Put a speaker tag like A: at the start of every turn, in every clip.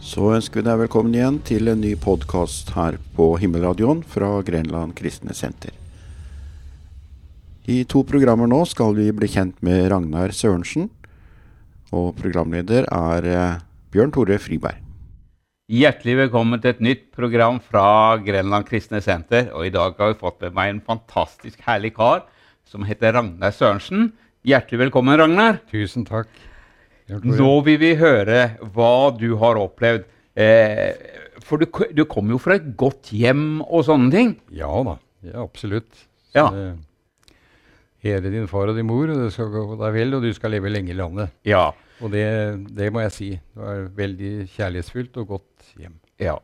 A: Så ønsker vi deg velkommen igjen til en ny podkast her på Himmelradioen fra Grenland Kristne Senter. I to programmer nå skal vi bli kjent med Ragnar Sørensen, og programleder er eh, Bjørn Tore Friberg.
B: Hjertelig velkommen til et nytt program fra Grenland Kristne Senter. Og i dag har vi fått med meg en fantastisk herlig kar som heter Ragnar Sørensen. Hjertelig velkommen, Ragnar.
C: Tusen takk. Bjørn Tore.
B: Nå vil vi høre hva du har opplevd. Eh, for du, k- du kommer jo fra et godt hjem og sånne ting.
C: Ja da, ja, absolutt. Så
B: Ja.
C: det- Hedre din far og din mor, og det skal gå deg vel, og du skal leve lenge i landet.
B: Ja.
C: Og det, det må jeg si. Det var veldig kjærlighetsfullt og godt hjem.
B: ja.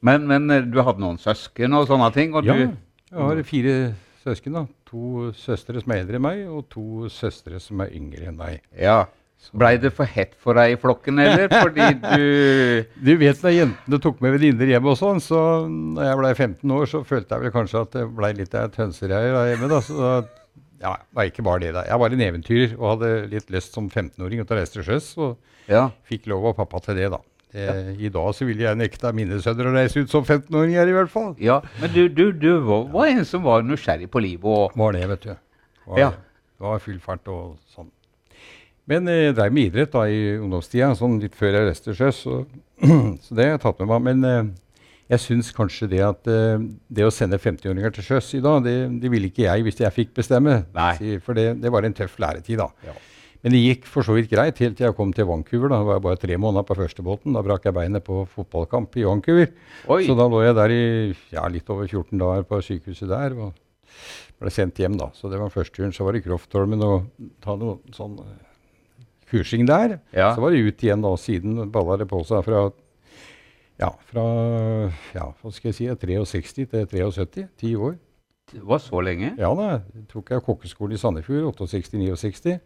B: Men, men eh, du hadde noen søsken og sånne ting. Og
C: Ja,
B: du,
C: jeg har fire søsken. da. To søstre som er eldre enn meg, og to søstre som er yngre enn meg.
B: ja. Blei det for hett for deg i flokken, eller? Fordi du
C: Du vet da jentene tok med venninner hjem og sånn, så da jeg blei 15 år, så følte jeg vel kanskje at det blei litt av et hønsereir der hjemme, da. Så da, ja, det var ikke bare det, da. Jeg var en eventyrer og hadde litt lyst som 15-åring til å reise til sjøs, og
B: Ja.
C: fikk lov av pappa til det, da. Eh, I dag så ville jeg nekta mine sønner å reise ut som 15-åringer, i hvert fall.
B: Ja, men du, du, du var, var en som var nysgjerrig på livet og
C: Var det, vet du. Var
B: Ja.
C: det. det var full fart og sånn. Men eh, jeg drev med idrett da i ungdomstida, sånn litt før jeg reiste til sjøs. Så, så det har jeg tatt med meg. Men eh, jeg syns kanskje det at eh, det å sende 50-åringer til sjøs i dag, det, det ville ikke jeg hvis jeg fikk bestemme.
B: Nei.
C: Si, For det, det var en tøff læretid, da.
B: Ja.
C: Men det gikk for så vidt greit helt til jeg kom til Vancouver. Da Da var jeg bare tre måneder på første båten. Da brakk jeg beinet på fotballkamp i Vancouver.
B: Oi.
C: Så da lå jeg der i ja, litt over 14 dager på sykehuset der. og ble sendt hjem, da. Så det var første turen. Så var det Kroftholmen og ta noe sånn eh, kursing der.
B: Ja.
C: Så var det ut igjen, da. og Siden balla det på seg fra ja, fra ja, hva skal jeg si, 63 til 73. Ti år.
B: Det var så lenge?
C: Ja da. Tok jeg kokkeskolen i Sandefjord, 68-69.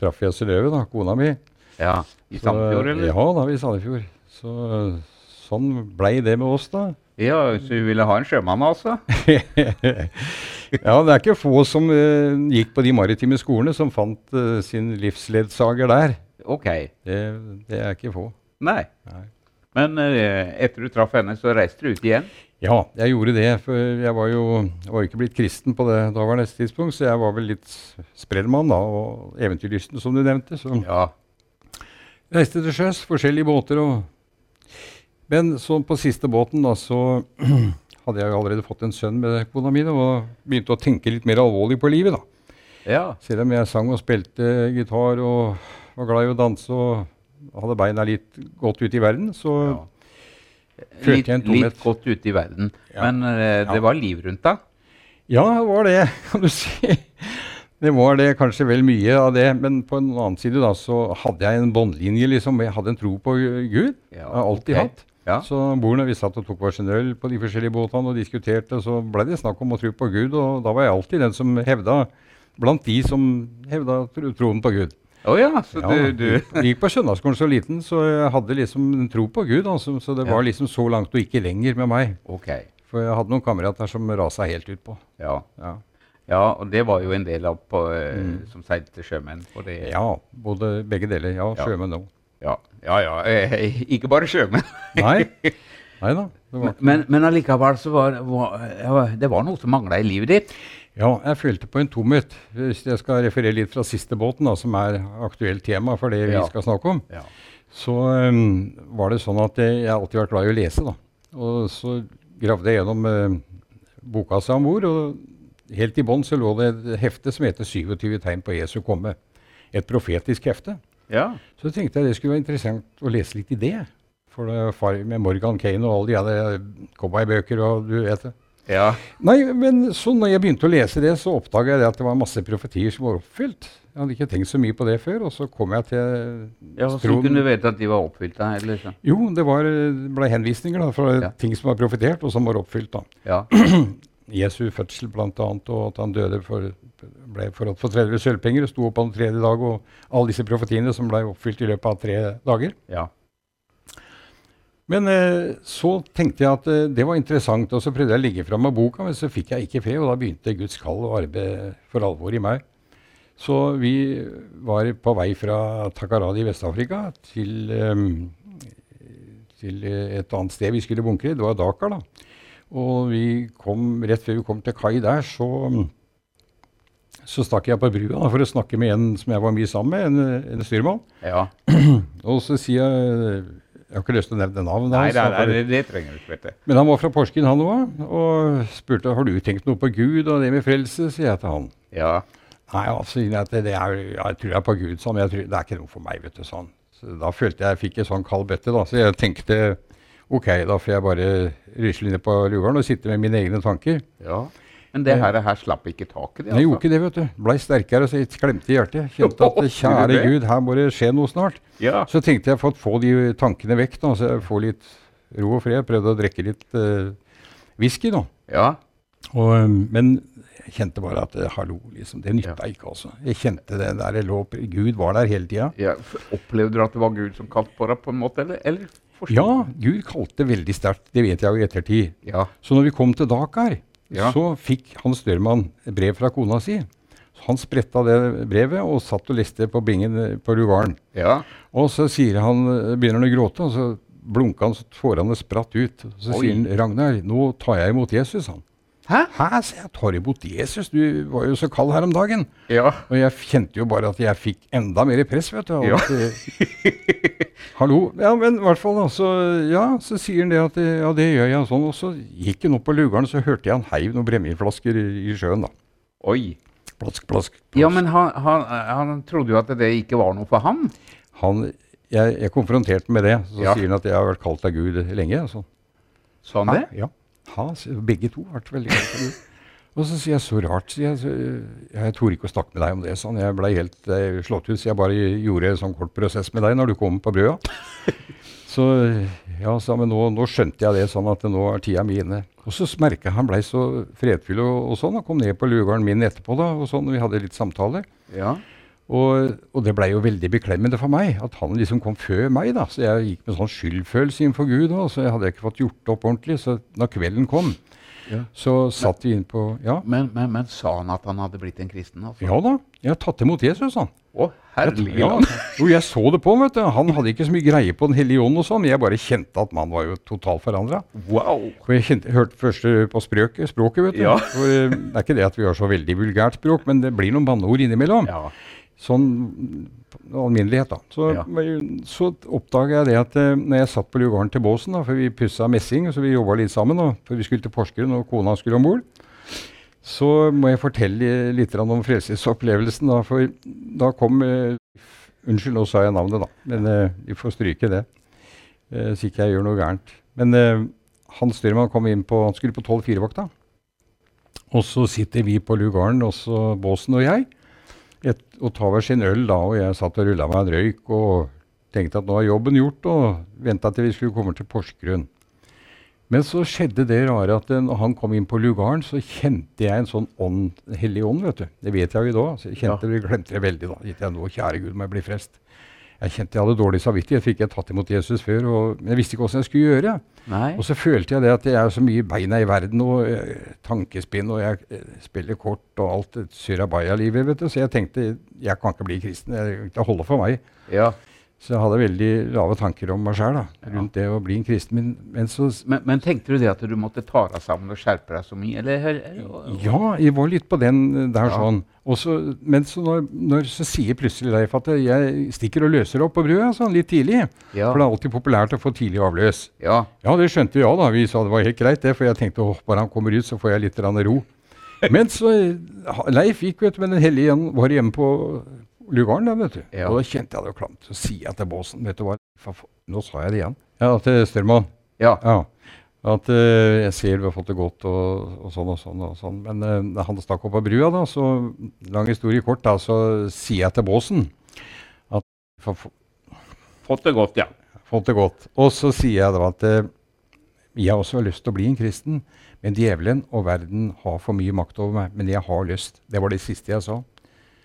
C: Traff jeg Synnøve, da, kona mi.
B: Ja. I
C: Så-
B: Sandefjord, eller?
C: Ja da, i Sandefjord. Så sånn blei det med oss, da.
B: Ja, så hun ville ha en sjømann, altså?
C: ja, det er ikke få som eh, gikk på de maritime skolene som fant eh, sin livsledsager der.
B: Ok.
C: Det, det er ikke få.
B: Nei.
C: Nei.
B: Men eh, etter du traff henne, så reiste du ut igjen?
C: Ja, jeg gjorde det, for jeg var jo jeg var jo ikke blitt kristen på det daværende tidspunkt, så jeg var vel litt s- sprellmann da, og eventyrlysten, som du nevnte. Så
B: Ja.
C: reiste til sjøs, forskjellige båter og Men så på siste båten, da, så hadde jeg jo allerede fått en sønn med kona mi, da, og begynte å tenke litt mer alvorlig på livet, da.
B: Ja.
C: Selv om jeg sang og spilte gitar og var glad i å danse og hadde beina litt godt ute i verden, så
B: ja.
C: Følte
B: Litt,
C: jeg en tomhet.
B: litt godt ute i verden.
C: Ja.
B: Men eh, det
C: Ja.
B: var liv rundt deg?
C: ja, det var det, kan du si. Det var det kanskje vel mye av det, men på en annen side da, så hadde jeg en båndlinje, liksom. Jeg hadde en tro på Gud.
B: Ja,
C: jeg har alltid
B: ok.
C: hatt.
B: Ja.
C: Så om bord når vi satt og tok hver sin øl på de forskjellige båtene og diskuterte, så ble det snakk om å tro på Gud, og da var jeg alltid den som hevda, blant de som hevda tro- troen på Gud.
B: Å ja, så
C: Ja,
B: du, du
C: gikk- gikk på søndagsskolen så liten, så jeg hadde liksom en tro på Gud. Altså, så det
B: Ja.
C: var liksom så langt og ikke lenger med meg.
B: Ok.
C: For jeg hadde noen kamerater som rasa helt ut på.
B: Ja.
C: Ja,
B: ja. Og det var jo en del av på, eh,
C: Mm.
B: som seilte sjømenn. Og det,
C: ja både begge deler. Ja,
B: Ja.
C: sjømenn òg.
B: ja. ja, ja. eh, ikke bare sjømenn.
C: Nei. Nei da. Det var ikke.
B: Men, men allikevel så var, var ja, det var noe som mangla i livet ditt.
C: Ja, jeg følte på en tomhet. Hvis jeg skal referere litt fra siste båten, da, som er aktuelt tema for det vi
B: Ja.
C: skal snakke om.
B: Ja.
C: så øhm, var det sånn at jeg jeg har alltid vært glad i å lese. da. Og så gravde jeg gjennom eh, øhm, bokkassa om bord, og helt i bånn så lå det et hefte som heter '27 tegn på Jesu komme'. Et profetisk hefte.
B: Ja.
C: Så tenkte jeg det skulle være interessant å lese litt i det. For det er far med Morgan Kane og alle de der cowboybøker og du vet det.
B: ja.
C: Nei, men så når jeg begynte å lese det, så oppdaga jeg det at det var masse profetier som var oppfylt. Jeg hadde ikke tenkt så mye på det før, og så kom jeg til
B: ja så
C: troen-
B: kunne du vite at de var oppfylt av eller så.
C: jo, det var, det ble henvisninger da, fra
B: Ja.
C: ting som var profetert, og som var oppfylt. da.
B: Ja.
C: Jesu fødsel bl.a., og at han døde for, ble forrådt for 30 sølvpenger og sto opp på den tredje dag, og alle disse profetiene som ble oppfylt i løpet av tre dager.
B: ja.
C: Men eh, så tenkte jeg at eh, det var interessant, og så prøvde jeg å legge fra meg boka, men så fikk jeg ikke fred, og da begynte Guds kall å arbeide for alvor i meg. Så vi var på vei fra Takaradi i Vest-Afrika til, eh, til eh, et annet sted vi skulle bunkre. Det var Dakar, da. Og vi kom, rett før vi kom til kai der, så, så stakk jeg på brua da, for å snakke med en som jeg var mye sammen med, en, eh, en styrmann.
B: Ja.
C: Og så sier jeg Jeg har ikke lyst til å nevne navnet
B: Nei,
C: hans.
B: nei,
C: da,
B: nei,
C: for-
B: det, det trenger du ikke vite.
C: men han var fra Porsgrunn, han òg, og spurte har du tenkt noe på Gud og det med frelse. sier jeg til han.
B: Ja.
C: Nei, altså, sier han, det det er, jeg tror jeg er på Gud, sa han. men Jeg tror, det er ikke noe for meg, vet du, sa han. Så da følte jeg jeg fikk en sånn kald bøtte, da. Så jeg tenkte ok, da får jeg bare rysle ned på lugaren og sitte med mine egne tanker.
B: ja. Men det her, her slapp ikke taket altså. i.
C: Men jeg gjorde ikke det, vet du. Blei sterkere og så jeg klemte i hjertet. Kjente at
B: Gjorde du
C: kjære
B: det?
C: Gud, her må det skje noe snart.
B: Ja.
C: Så tenkte jeg for å få de tankene vekk, da, så jeg får litt ro og fred. Prøvde å drikke litt eh, whisky, da.
B: ja.
C: Og,
B: um,
C: øhm, men jeg kjente bare at eh, hallo, liksom, det nytta ikke. altså. Jeg kjente det der jeg lå opp- Gud var der hele tida.
B: Ja, f- Opplevde du at det var Gud som kalte på deg, på en måte? Eller, eller forstod
C: Ja,
B: du?
C: Gud kalte veldig sterkt, det vet jeg jo i ettertid.
B: Ja.
C: Så når vi kom til Dakar,
B: Ja.
C: så fikk Hans Dørmann et brev fra kona si. Så Han spretta det brevet og satt og leste på bingen eh, på lugaren.
B: ja.
C: Og så sier han, eh, begynner han å gråte, og så blunka han så tårene spratt ut. Så
B: Oi.
C: sier han, 'Ragnar, nå tar jeg imot Jesus', han.
B: Hæ?
C: Hæ, sier jeg, tar imot Jesus? Du var jo så kald her om dagen.
B: Ja.
C: Og jeg kjente jo bare at jeg fikk enda mer press, vet du. og
B: Ja.
C: At, eh, hallo. Ja, men i hvert fall, da. Så, ja, så sier han det at eh, ja, det gjør jeg, og sånn. Og så gikk han opp på lugaren, så hørte jeg han heiv noen brennevinflasker i, i sjøen, da.
B: Oi.
C: Plask, plask. plask.
B: Ja, men han, han, han trodde jo at det ikke var noe for ham.
C: Han, jeg, jeg konfronterte ham med det. Så
B: Ja.
C: sier han at jeg har vært kalt av Gud lenge. og sånn.
B: Sa han det?
C: Ja. Ha, sier- begge to har vært veldig glad for det. Og så sier jeg så rart, sier jeg. Så, eh, jeg torde ikke å snakke med deg om det, sa han. Jeg ble helt eh, slått ut, så jeg bare gjorde en sånn kort prosess med deg når du kom på brøda. Så eh, ja, sa han, men nå, nå skjønte jeg det sånn at nå er tida mi inne. Og så merka jeg han blei så fredfull og, og sånn, og kom ned på lugaren min etterpå da, og sånn, vi hadde litt samtaler.
B: Ja.
C: Og, og det blei jo veldig beklemmende for meg at han liksom kom før meg. da, Så jeg gikk med sånn skyldfølelse innenfor Gud. da, Så jeg hadde ikke fått gjort det opp ordentlig. Så når kvelden kom,
B: Ja.
C: så satt vi inn på Ja,
B: Men, men, men sa han at han hadde blitt en kristen? altså?
C: ja da, jeg har tatt imot Jesus, han.
B: Å, herlig altså.
C: Ja,
B: land.
C: jo, jeg så det på ham, vet du. Han hadde ikke så mye greie på Den hellige ånd og sånn. Jeg bare kjente at mannen var jo totalt forandra.
B: Wow.
C: For jeg kjente, hørte først eh, på språket, språket vet du.
B: Ja.
C: For, eh, det er ikke det at vi har så veldig vulgært språk, men det blir noen banneord innimellom.
B: Ja.
C: Sånn mm, alminnelighet, da. Så,
B: Ja.
C: men så oppdaga jeg det at eh, når jeg satt på lugaren til båsen, da, for vi pussa messing, så vi jobba litt sammen, da, for vi skulle til Porsgrunn, og kona skulle om bord, så må jeg fortelle litt grann om frelsesopplevelsen, da, for da kom eh, f- Unnskyld, nå sa jeg navnet, da, men eh, vi får stryke det, eh, så ikke jeg gjør noe gærent. Men eh, Hans Dyrman kom inn på, han skulle på 12-4-vakta. Og så sitter vi på lugaren, også Båsen og jeg, et, og tar hver sin øl da, og jeg satt og rulla meg en røyk og tenkte at nå er jobben gjort, og venta til vi skulle komme til Porsgrunn. Men så skjedde det rare at eh, når han kom inn på lugaren, så kjente jeg en sånn ånd, hellig ånd, vet du. Det vet jeg jo i dag. Så jeg kjente det, glemte det veldig da. Gitt jeg nå, kjære Gud, må jeg bli frelst. Jeg kjente jeg hadde dårlig samvittighet, fikk jeg tatt imot Jesus før, og, men jeg visste ikke åssen jeg skulle gjøre.
B: Nei.
C: Og så følte jeg det at jeg er så mye beina i verden og eh, tankespinn, og jeg eh, spiller kort og alt det surabaya-livet, vet du. Så jeg tenkte jeg kan ikke bli kristen, jeg- det holder for meg.
B: Ja.
C: Så jeg hadde veldig lave tanker om meg sjæl rundt det å bli en kristen. Men, men så s-
B: Men, men tenkte du det at du måtte ta deg sammen og skjerpe deg så mye? Eller, eller,
C: Ja, jeg var litt på den eh, der
B: Ja.
C: sånn. Og så, men så, når, når, så sier plutselig Leif at jeg stikker og løser opp på brødet sånn litt tidlig.
B: Ja.
C: For det er alltid populært å få tidlig avløs.
B: ja.
C: Ja, det skjønte jeg da. Vi sa det var helt greit, det, for jeg tenkte åh, bare han kommer ut, så får jeg litt grann ro. Men så eh, ha- Leif gikk, vet du, men Den hellige igjen var hjemme på lugaren, da, vet du.
B: Ja.
C: Og da kjente jeg det jo klamt. Så sier jeg til båsen, vet du hva, for fa- nå sa jeg det igjen. Ja, til Størman.
B: Ja.
C: Ja. At eh, jeg ser du har fått det godt og, og sånn og sånn. og sånn. Men eh, da han stakk opp av brua, da, så lang historie kort, da, så sier jeg til båsen at for, for,
B: Fått det godt, ja.
C: fått det godt. Og så sier jeg da at eh, jeg også har lyst til å bli en kristen, men djevelen og verden har for mye makt over meg. Men jeg har lyst. Det var det siste jeg sa.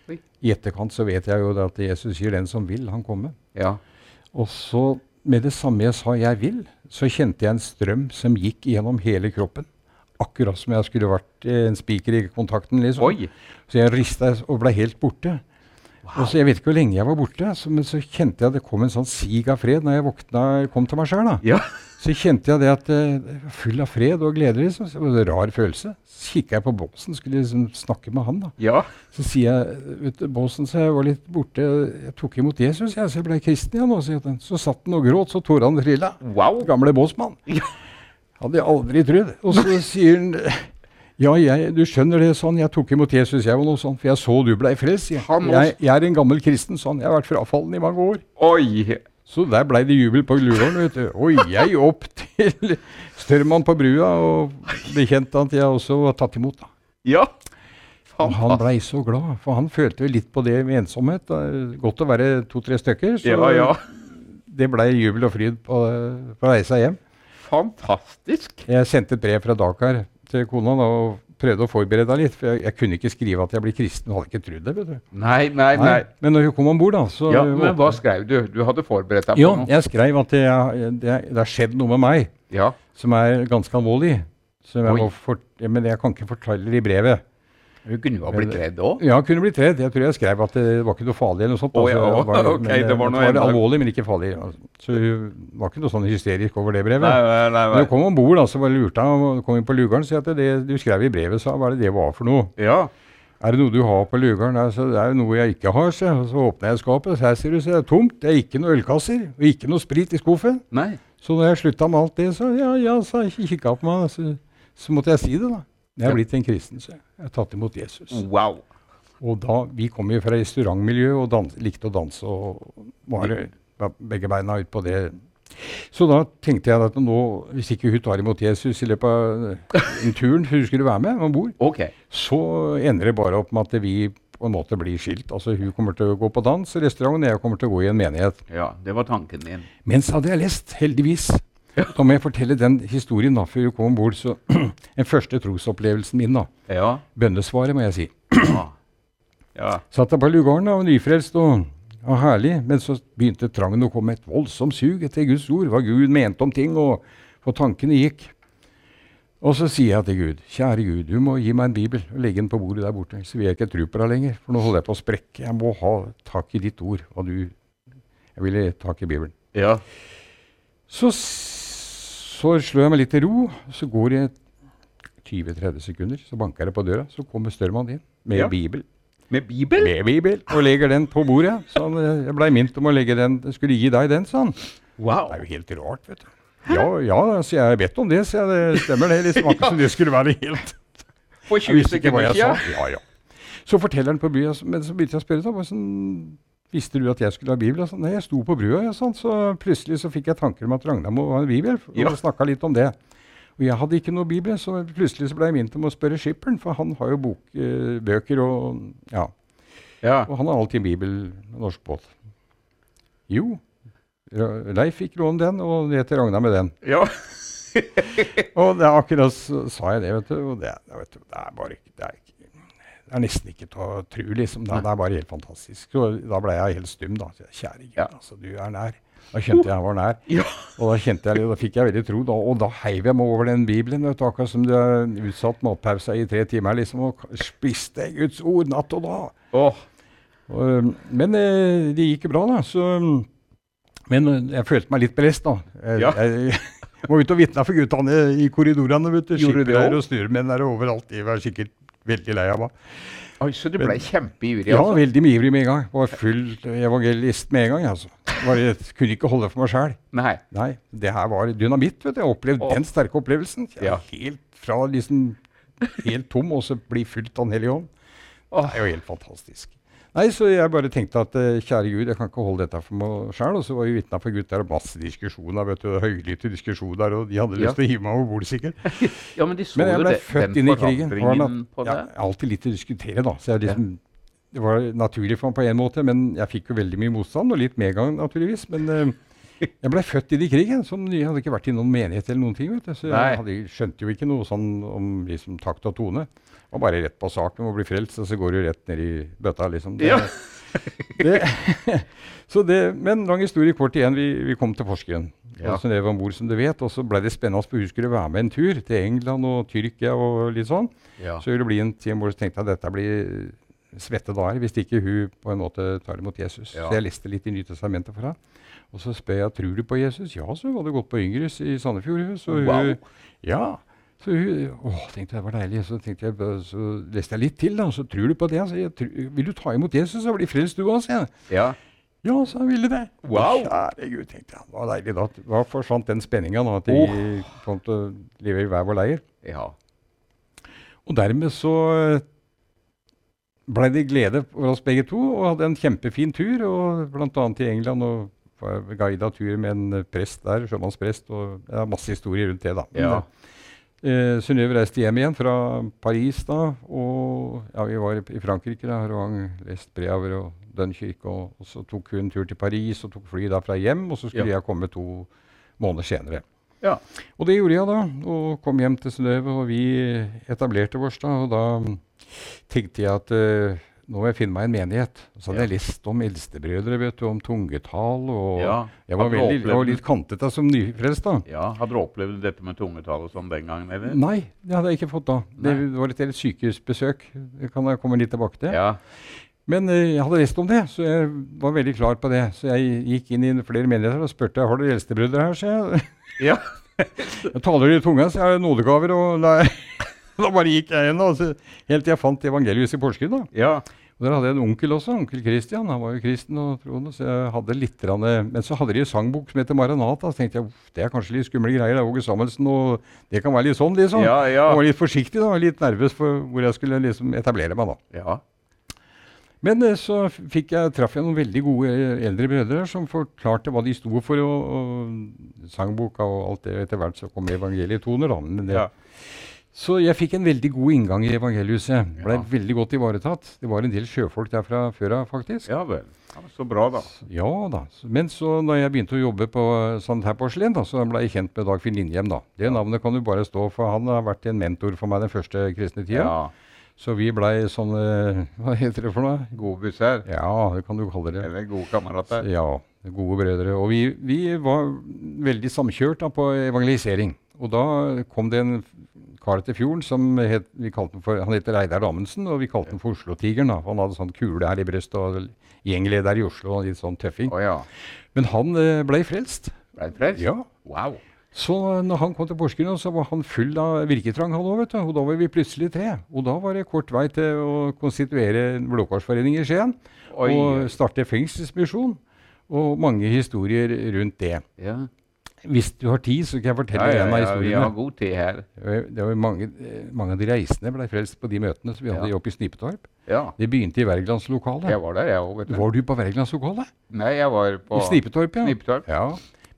B: Oi.
C: I etterkant så vet jeg jo det at Jesus sier 'den som vil, han komme'.
B: Ja.
C: Og så med det samme jeg sa 'jeg vil', så kjente jeg en strøm som gikk gjennom hele kroppen. Akkurat som jeg skulle vært eh, en spiker i kontakten. liksom.
B: Oi.
C: Så jeg rista og ble helt borte. Og så Jeg vet ikke hvor lenge jeg var borte, så, men så kjente jeg at det kom en sånn sig av fred når jeg våkna, kom til meg sjøl.
B: Ja.
C: Så kjente jeg det at eh, jeg var full av fred og glede. Liksom. Så Det var en rar følelse. Så kikka jeg på Båsen, skulle liksom snakke med han. da.
B: Ja.
C: Så sier jeg vet du, Båsen, så jeg var litt borte, jeg tok imot Jesus, jeg, så jeg ble kristen igjen. nå», sier han. Så satt han og gråt, så torde han trilla.
B: Wow.
C: Gamle båsmann.
B: Ja.
C: Hadde jeg aldri trodd. Og så sier han ja, jeg, du skjønner det sånn, jeg tok imot Jesus, jeg var noe sånn, for jeg så du blei frelst. sier
B: Han
C: han. Jeg, jeg er en gammel kristen sånn, jeg har vært frafallen i mange år.
B: Oi.
C: Så der blei det jubel på Glugården, vet du. Og jeg opp til Størmann på brua og bekjente at jeg også var tatt imot. da.
B: Ja.
C: Og han
B: Fantastisk.
C: blei så glad, for han følte vel litt på det med ensomhet. Det er Godt å være to-tre stykker. Så
B: Ja, ja.
C: det blei jubel og fryd på, på reisa hjem.
B: Fantastisk.
C: Jeg sendte et brev fra Dakar til kona da, og prøvde å forberede henne litt. For jeg, jeg kunne ikke skrive at jeg blir kristen. Hun hadde ikke trodd det. vet du.
B: Nei, nei, nei.
C: Men når hun kom om bord, da så
B: Ja, men hva skrev du? Du hadde forberedt deg på
C: Jo,
B: noe.
C: jeg skrev at det, er- det, er- det har skjedd noe med meg
B: Ja.
C: som er ganske alvorlig. Som jeg
B: Oi.
C: må fort, ja, men jeg kan ikke fortelle det i brevet.
B: Du kunne jo ha blitt redd òg.
C: Ja, jeg kunne blitt redd. Jeg tror jeg skrev at det var ikke noe farlig eller noe sånt.
B: Å,
C: altså,
B: ja,
C: det var-
B: ok,
C: men, eh,
B: det var noe enda-
C: alvorlig, men ikke farlig. Altså. Så hun var ikke noe sånn hysterisk over det brevet.
B: Nei, nei, nei.
C: Men hun
B: nei.
C: kom om bord, så bare lurte jeg, og kom inn på Lugaren og sa at det du skrev i brevet, sa, hva er det det var for noe?
B: Ja.
C: Er det noe du har på Lugaren? Nei, så det er jo noe jeg ikke har, sa jeg. Og Så åpner jeg skapet, og her ser du, så er det tomt. Det er ikke noen ølkasser, og ikke noe sprit i skuffen.
B: Nei.
C: Så når jeg slutta med alt det, så ja, ja, sa jeg, kikka på meg, så, så måtte jeg si det, da. Jeg
B: Ja.
C: er blitt en kristen, så jeg. Jeg har tatt imot Jesus.
B: Wow.
C: Og da, Vi kom jo fra restaurantmiljø og dans, likte å danse og var var begge beina ut på det. Så da tenkte jeg at nå, hvis ikke hun tar imot Jesus i løpet av den turen hun skulle være med om bord,
B: Ok.
C: så ender det bare opp med at vi på en måte blir skilt. Altså Hun kommer til å gå på dans i restauranten, og jeg kommer til å gå i en menighet.
B: Ja, det var tanken din.
C: Men så hadde jeg lest, heldigvis. Da må jeg fortelle den historien da, før hun kom om bord. Så den første trosopplevelsen min, da.
B: Ja.
C: Bønnesvaret, må jeg si.
B: Ja. ja.
C: Satt jeg på lugaren da, og nyfrelst og, og herlig, men så begynte trangen å komme et voldsomt sug etter Guds ord, hva Gud mente om ting, og hvor tankene gikk. Og så sier jeg til Gud, kjære Gud, du må gi meg en bibel og legge den på bordet der borte, så vil jeg ikke tro på deg lenger, for nå holder jeg på å sprekke. Jeg må ha tak i ditt ord, og du Jeg ville tak i Bibelen.
B: ja.
C: Så, s- så slår jeg meg litt til ro, så går det 20-30 sekunder, så banker det på døra, så kommer Størman inn med
B: Ja.
C: bibel
B: Med Bibel?
C: med bibel og legger den på bordet. Så han, eh, jeg blei minnet om å legge den Jeg skulle gi deg den, sa han. Det
B: Wow.
C: er jo helt rart, vet du. Ja, ja, altså, jeg har bedt om det, så jeg, det stemmer det. Liksom akkurat som det skulle være helt
B: For 20 sekunder
C: sa.
B: siden.
C: Ja, ja. Så forteller han på brua, så- men så begynte jeg å spørre da, hvordan Visste du at jeg skulle ha bibel? Og sånn, Nei, jeg sto på brua, ja, sånn, så plutselig så fikk jeg tanker om at Ragnar må ha en bibel. Og
B: Ja.
C: ja. snakka litt om det. Og jeg hadde ikke noe bibel, så plutselig så ble jeg minnet om å spørre skipperen, for han har jo bok, eh, bøker og ja.
B: Ja.
C: Og han har alltid en bibel med norsk båt. Jo, Ra- Leif fikk låne den, og ned til Ragnar med den.
B: ja.
C: Og det er akkurat så sa jeg det, vet du. Og det, er- vet du, det er bare ikke- det er, ikke, det er nesten ikke til å tro, liksom. Det, er- det er bare helt fantastisk. Og da ble jeg helt stum, da. Så jeg, Kjære Gud,
B: Ja.
C: altså, du er nær. Da kjente jeg jeg var nær.
B: Ja.
C: Og da kjente jeg, det, da fikk jeg veldig tro, da, og da heiv jeg meg over den Bibelen. Vet du, akkurat som du er utsatt matpausa i tre timer, liksom. Og k- spiste Guds ord natt og dag.
B: Åh.
C: Og, men eh, det gikk jo bra, da. Så, mm, men eh, jeg følte meg litt belest, da. Jeg,
B: Ja.
C: jeg, jeg var ute og vitna for guttene i korridorene. vet du.
B: Gjorde du det
C: Skippere
B: også?
C: og snurremenn er overalt. De var sikkert veldig lei av meg.
B: Oi, så du ble kjempeivrig,
C: Ja,
B: altså?
C: veldig mye ivrig med en gang. Var full evangelist med en gang. altså. Bare, kunne ikke holde for meg sjæl.
B: Nei.
C: Nei, det her var dynamitt. vet du. Jeg har opplevd
B: Åh.
C: den sterke opplevelsen. Jeg
B: Ja.
C: er Helt fra liksom helt tom, og så bli fullt av Den hellige ånd. Det
B: Åh.
C: er jo helt fantastisk. Nei, så jeg bare tenkte at eh, kjære Gud, jeg kan ikke holde dette for meg sjøl. Og så var vi vitne for gutt der, og masse diskusjoner, vet du, og høylytte diskusjoner, og de hadde
B: Ja.
C: lyst til å hive meg over bordet, sikkert.
B: Ja, men de så
C: Men jeg
B: jo
C: ble
B: det,
C: født
B: den
C: inn i krigen. Det var
B: forandringen
C: nat-
B: på
C: ja,
B: det.
C: jeg har alltid litt å diskutere, da. Så jeg liksom, det var naturlig for meg på en måte, men jeg fikk jo veldig mye motstand, og litt medgang, naturligvis. Men eh, jeg ble født inn i krigen. Som jeg hadde ikke vært i noen menighet eller noen ting. vet du. Så
B: Nei.
C: jeg hadde, skjønte jo ikke noe sånn om liksom, takt og tone. Det var bare rett på sak. Du må bli frelst, og så går du rett ned i bøtta, liksom. Det,
B: Ja.
C: det, så det, men lang historie kort igjen. Vi, vi kom til Porsgrunn.
B: Ja.
C: Altså, det var ombord, som du vet, og så ble det spennende, for hun skulle være med en tur til England og Tyrkia og litt sånn.
B: Ja.
C: Så ville det bli en time hvor jeg tenkte at dette blir svette dager hvis ikke hun på en måte tar imot Jesus.
B: Ja.
C: Så jeg leste litt i Nytestamentet for henne. Og så spør jeg tror du på Jesus. Ja, så hun hadde gått på Yngres i Sandefjord. hun, Så hun,
B: Wow.
C: ja. Så hun, åh, tenkte jeg, det var deilig. Så, tenkte jeg, bø- så leste jeg litt til, da. Så tror du på det? Så jeg, «Tru- vil du ta imot Jesus, så blir frelst du òg, sier jeg.
B: Ja.
C: Ja, så ville det.
B: Wow.
C: Kjære Gud, tenkte jeg. Det var deilig da. Da forsvant den spenninga, da. At de
B: Åh.
C: kom til å leve i hver vår leir.
B: ja.
C: Og dermed så blei det glede for oss begge to, og hadde en kjempefin tur. og Bl.a. til England og var guida tur med en eh, prest der, sjømannsprest. og ja, Masse historier rundt det, da. Men,
B: Ja.
C: Eh, Synnøve reiste hjem igjen fra Paris da, og ja, vi var i, i Frankrike. da, og han leste Breaver og Dunkerque, og, og så tok hun en tur til Paris og tok fly derfra hjem, og så skulle
B: Ja.
C: jeg komme to måneder senere.
B: Ja.
C: Og det gjorde jeg da, og kom hjem til Synnøve, og vi etablerte oss da. Og da mm, tenkte jeg at eh, nå må jeg finne meg en menighet. Og så hadde
B: Ja.
C: jeg lest om eldstebrødre, vet du, om tungetall, og
B: Ja.
C: jeg var
B: Hadde du
C: veldig, jeg var
B: opplevd-
C: litt kantet da som nyfrelst da.
B: ja. Hadde du opplevd dette med tungetall og sånn den gangen, eller?
C: Nei, det hadde jeg ikke fått da. Det
B: Nei.
C: var litt et sykehusbesøk. Det kan jeg komme litt tilbake til.
B: Ja.
C: Men eh, jeg hadde lest om det, så jeg var veldig klar på det. Så jeg gikk inn i flere menigheter og spurte har dere eldstebrødre her. Så jeg,
B: Ja.
C: jeg taler i tunga, så jeg har nådegaver. Og la, da bare gikk jeg inn, da, så, helt til jeg fant evangeliet i Porsgrunn. da.
B: ja.
C: Og Der hadde jeg en onkel også, onkel Kristian. Han var jo kristen og troende. så jeg hadde litt grann, eh, Men så hadde de en sangbok som heter Maranata. Så tenkte jeg "Uff, det er kanskje litt skumle greier. Det er Åge Samuelsen, og det kan være litt sånn, liksom.
B: Ja, ja.
C: Jeg var litt forsiktig da, litt nervøs for hvor jeg skulle liksom etablere meg. da.
B: Ja.
C: Men eh, så f- fikk jeg, traff jeg noen veldig gode eh, eldre brødre som forklarte hva de sto for, og, og sangboka og alt det. og Etter hvert så kom evangeliet i toner, da. Men det,
B: Ja.
C: Så jeg fikk en veldig god inngang i evangeliehuset. Blei
B: Ja.
C: veldig godt ivaretatt. Det var en del sjøfolk der fra før av, faktisk.
B: ja vel. Ja, så bra, da.
C: Ja da. s- Men så når jeg begynte å jobbe på eh, sanitærporselen, da, så ble jeg kjent med Dagfinn Lindhjem. da. Det navnet kan du bare stå for. Han har vært en mentor for meg den første kristne tida.
B: Ja.
C: Så vi blei sånne Hva heter det for noe?
B: God busser.
C: Ja, det kan du kalle det.
B: Eller gode kamerater.
C: Ja, Gode brødre. Og vi, vi var veldig samkjørt da, på evangelisering. Og da kom det en kar til fjorden som het, vi kalte den for, han heter Reidar Amundsen, og vi kalte han for Oslo-tigeren. da, for Han hadde sånn kule her i brystet og gjengleder i Oslo og litt sånn tøffing.
B: Å ja.
C: Men han eh, blei frelst.
B: Ble du frelst?
C: Ja.
B: Wow.
C: Så eh, når han kom til Porsgrunn, så var han full av virketrang, han òg, vet du. Og da var vi plutselig tre. Og da var det kort vei til å konstituere en blåkorsforening i Skien.
B: Oi.
C: Og starte fengselsmisjon. Og mange historier rundt det.
B: Ja.
C: Hvis du har tid, så kan
B: Ja,
C: jeg fortelle
B: ja, ja,
C: en av
B: vi har
C: historiene.
B: god tid her.
C: Det var mange, eh, mange av de reisende ble frelst på de møtene som vi hadde
B: Ja.
C: oppe i Snipetorp.
B: Ja.
C: Det begynte i Wergelandslokalet.
B: Jeg var der, jeg òg, vet du.
C: Var du på Wergelandslokalet?
B: Nei, jeg var på
C: I Snipetorp, ja.
B: Snipetorp.
C: ja.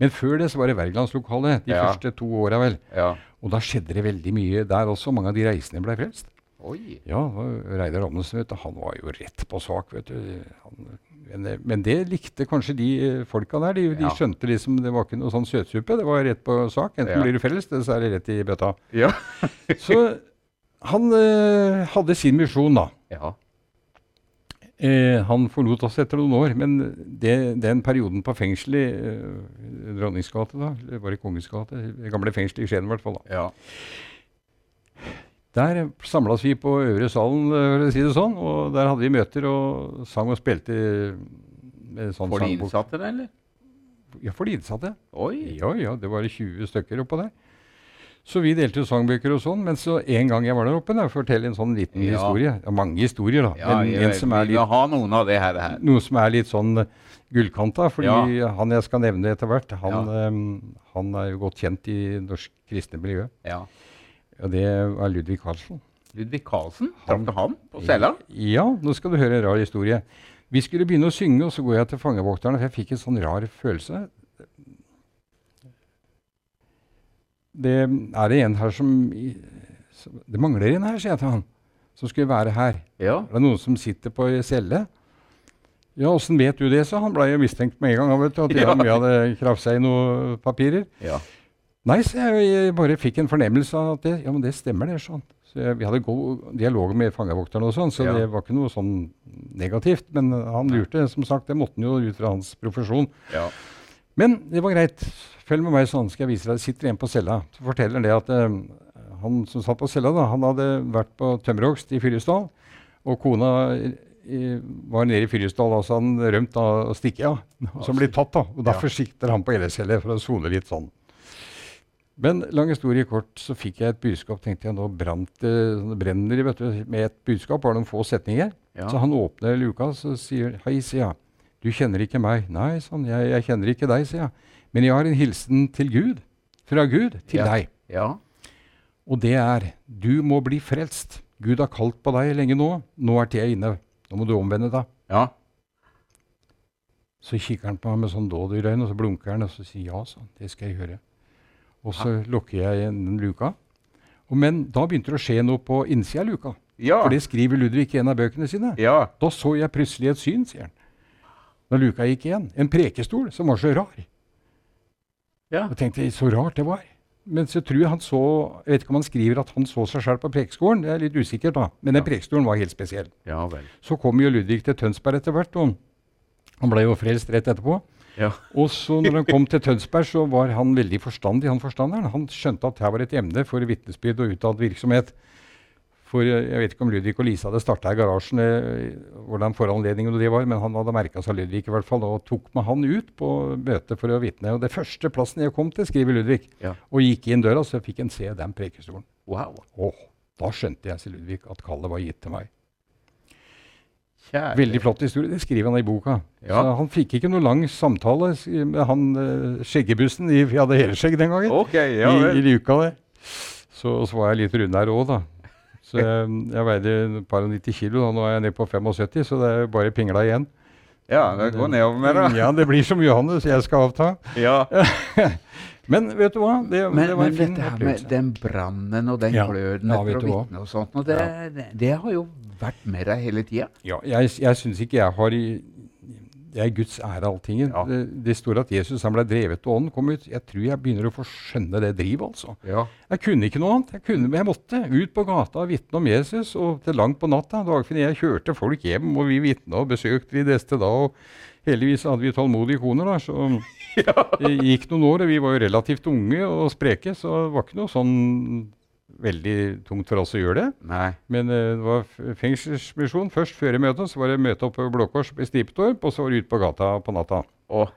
C: Men før det så var det Wergelandslokalet. De
B: Ja.
C: første to åra, vel.
B: Ja.
C: Og da skjedde det veldig mye der også. Mange av de reisende ble frelst.
B: Oi.
C: Ja, det var Reidar Amundsen vet du, han var jo rett på sak. vet du. Han, men, men det likte kanskje de eh, folka der. De,
B: Ja.
C: de skjønte liksom det var ikke noe sånn søtsuppe. Det var rett på sak. Enten
B: Ja.
C: blir du frelst, eller så er det rett i bøtta.
B: Ja.
C: Så han eh, hadde sin misjon, da.
B: Ja.
C: Eh, han forlot oss etter noen år, men det, den perioden på fengselet i eh, Dronningsgate, da, eller var det Kongens gate? Det gamle fengselet i Skien, i hvert fall. da.
B: ja.
C: Der samlas vi på Øvre salen, eh, for å si det sånn, og der hadde vi møter og sang og spilte eh, med sånn
B: For de
C: sangbok.
B: innsatte, da, eller?
C: Ja, for de innsatte.
B: Oi.
C: Ja, ja, det var 20 stykker oppå der. Så vi delte jo sangbøker og sånn, men så en gang jeg var der oppe, da, fortell en sånn liten
B: Ja.
C: historie. Ja, mange historier, da.
B: Ja,
C: men
B: jeg
C: en
B: vet,
C: som er
B: Vi
C: litt,
B: vil ha noen av det her. her.
C: noe som er litt sånn eh, gullkanta, fordi han jeg skal nevne etter hvert, han,
B: Ja.
C: eh, han er jo godt kjent i norsk kristne miljø.
B: Ja.
C: Ja, det er Ludvig Karlsson.
B: Ludvig Carlsen, traff du han på cella?
C: Ja, nå skal du høre en rar historie. Vi skulle begynne å synge, og så går jeg til fangevokterne, for jeg fikk en sånn rar følelse. Det er det en her som i- som- Det mangler en her, sier jeg til han, som skulle være her.
B: Ja.
C: Er det noen som sitter på ei celle? Ja, åssen vet du det, sa han. Blei jo mistenkt med en gang. han, Vet du, at jeg,
B: Ja.
C: om jeg hadde krafsa i noen papirer.
B: ja.
C: Nei, så jeg, jeg bare fikk en fornemmelse av at det, ja, men det stemmer, det. sånn. Så jeg, vi hadde god dialog med fangevokterne, og sånn, så
B: Ja.
C: det var ikke noe sånn negativt. Men han lurte, som sagt. Det måtte han jo ut fra hans profesjon.
B: ja.
C: Men det var greit. Følg med meg, sånn skal jeg vise deg. Det sitter en på cella. Så forteller han det at eh, han som satt på cella, da, han hadde vært på tømmerhogst i Fyresdal. Og kona eh, var nede i Fyresdal, altså han rømt av Stikkja, som blir tatt. da. Og Derfor sikter han på LSL for å sone litt sånn. Men lang historie kort, så fikk jeg et budskap. tenkte jeg, Nå brant det, sånn brenner det vet du, med et budskap. Bare noen få setninger.
B: Ja.
C: Så han åpner luka og sier Hei, sier jeg. Du kjenner ikke meg. Nei, sa han. Jeg, jeg kjenner ikke deg, sier jeg. Men jeg har en hilsen til Gud. Fra Gud til
B: Ja.
C: deg.
B: Ja.
C: Og det er du må bli frelst. Gud har kalt på deg lenge nå. Nå er tida inne. Nå må du omvende deg.
B: ja.
C: Så kikker han på meg med sånn dådyrøyne, og så blunker han og så sier ja, sånn. Det skal jeg gjøre. Og så lukker jeg igjen den luka. Og, men da begynte det å skje noe på innsida av luka.
B: Ja.
C: For det skriver Ludvig i en av bøkene sine.
B: ja.
C: Da så jeg plutselig et syn, sier han. Da luka gikk igjen. En prekestol som var så rar.
B: Ja.
C: Og tenkte jeg, så rart det var. Men så tror jeg han så Jeg vet ikke om han skriver at han så seg sjøl på prekestolen. Det er litt usikkert, da. Men den prekestolen var helt spesiell.
B: Ja vel.
C: Så kom jo Ludvig til Tønsberg etter hvert, og han ble jo frelst rett etterpå.
B: Ja.
C: Og så når han kom til Tønsberg, så var han veldig forstandig, han forstanderen. Han skjønte at her var et emne for vitnesbyrd og utad virksomhet. For eh, jeg vet ikke om Ludvig og Lise hadde starta i garasjen, eh, hvordan foranledningen og det var, men han hadde merka seg Ludvig i hvert fall, og tok med han ut på møte for å vitne. Og det første plassen jeg kom til, skriver Ludvig,
B: Ja.
C: og gikk inn døra, så fikk en se den prekestolen.
B: Wow.
C: Åh, da skjønte jeg, sier Ludvig, at kallet var gitt til meg.
B: Kjære.
C: Veldig flott historie. Det skriver han i boka.
B: Ja.
C: Så han fikk ikke noe lang samtale s- med han eh, skjeggebussen. i- Vi hadde hele skjegg den gangen.
B: Ok, ja
C: I, I
B: vel.
C: luka der. Så, så var jeg litt rund her òg, da. Så jeg, jeg veide et par og 90 kilo. Da. Nå er jeg nede på 75, så det er bare pingla igjen.
B: Ja, det går nedover med det.
C: Ja, det blir som Johannes, jeg skal avta.
B: Ja.
C: Men vet du hva? Det,
B: Men,
C: det var
B: men
C: en fin
B: dette her med
C: opplevelse.
B: den brannen og den
C: Ja.
B: gløden
C: Ja,
B: etter
C: vet
B: å
C: du hva?
B: vitne og sånt, og det, det, det har jo vært med deg hele tida.
C: Ja, jeg jeg syns ikke jeg har i- Jeg er Guds ære alltingen.
B: Ja.
C: Det, det står at Jesus han ble drevet og ånden kom ut. Jeg tror jeg begynner å få skjønne det drivet, altså.
B: Ja.
C: Jeg kunne ikke noe annet. Jeg kunne, men jeg måtte ut på gata og vitne om Jesus. Og til langt på natta. Dagfinn og jeg kjørte folk hjem, og vi vitna og besøkte de neste da. og Heldigvis hadde vi tålmodige koner, da, så det gikk noen år. og Vi var jo relativt unge og spreke, så det var ikke noe sånn veldig tungt for oss å gjøre det.
B: Nei.
C: Men eh, det var f- fengselsmisjon først før i møtet. Så var det møte oppe ved Blå Kors i Stipetorp, og så var det ut på gata på natta.
B: Å,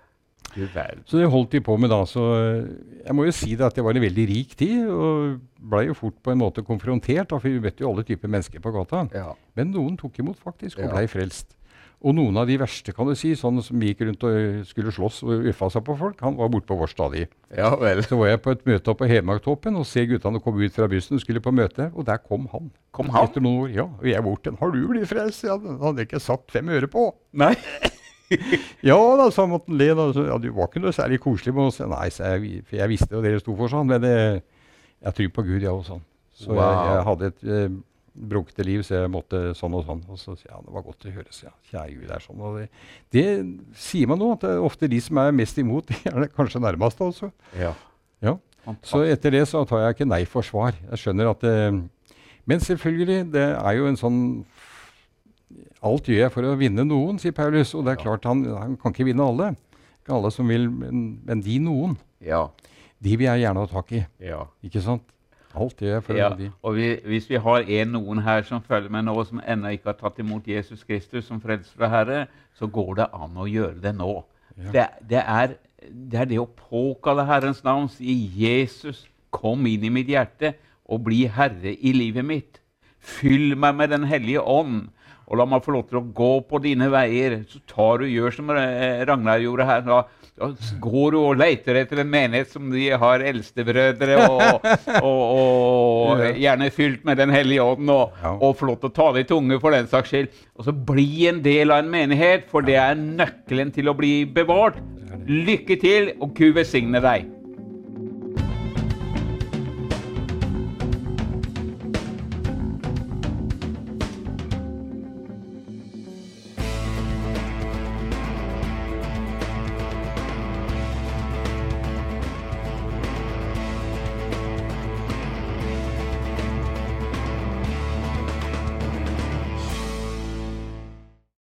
B: du verden.
C: Så det holdt de på med da. Så eh, jeg må jo si det at det var en veldig rik tid, og blei jo fort på en måte konfrontert, da, for vi møtte jo alle typer mennesker på gata.
B: Ja.
C: Men noen tok imot faktisk,
B: Ja.
C: og blei frelst. Og noen av de verste, kan du si, sånne som gikk rundt og eh, skulle slåss og uffa seg på folk, han var borte på vår stadig.
B: ja vel.
C: Så var jeg på et møte oppe på Hedmarktoppen og ser guttene komme ut fra bussen, skulle på møte, og der kom han.
B: Kom han?
C: Etter noen år, ja. Og jeg bort til han. 'Har du blitt frelst?' Ja, den hadde jeg ikke satt fem øre på.
B: Nei.
C: Ja da, sa han måtte han le. Da. Så, ja, du var ikke noe særlig koselig med oss. Nei, sa jeg, for jeg visste jo dere sto for sånn, men eh, jeg tror på Gud, jeg òg, sånn. Så jeg,
B: Wow.
C: jeg hadde et eh, brukte liv, så jeg måtte sånn og sånn. Og så sier jeg, ja, det var godt å høre, sier jeg. Kjære Gud, det er sånn. Og det, det sier man nå, at det er ofte de som er mest imot, de er det kanskje altså. nærmeste også.
B: Ja.
C: Ja. Så etter det så tar jeg ikke nei for svar. Jeg skjønner at eh, Men selvfølgelig, det er jo en sånn Alt gjør jeg for å vinne noen, sier Paulus. Og det er klart, han, han kan ikke vinne alle. Ikke alle som vil, men, men de noen.
B: Ja.
C: De vil jeg gjerne ha tak i.
B: ja.
C: Ikke sant? Alt gjør jeg for
B: ja.
C: å de.
B: Og vi, hvis vi har en noen her som følger med nå, som ennå ikke har tatt imot Jesus Kristus som frelser og herre, så går det an å gjøre det nå. Det, det, er, det er det å påkalle Herrens navn, si 'Jesus, kom inn i mitt hjerte og bli herre i livet mitt'. Fyll meg med Den hellige ånd, og la meg få lov til å gå på dine veier. Så tar du gjør som eh, Ragnar gjorde her. Da, da s- går du og leter etter en menighet som de har eldstebrødre, og, og, og, og gjerne fylt med Den hellige ånd, og,
C: Ja.
B: og få lov til å tale i tunge for den saks skyld. Og så bli en del av en menighet, for det er nøkkelen til å bli bevart. Lykke til, og Gud velsigne deg.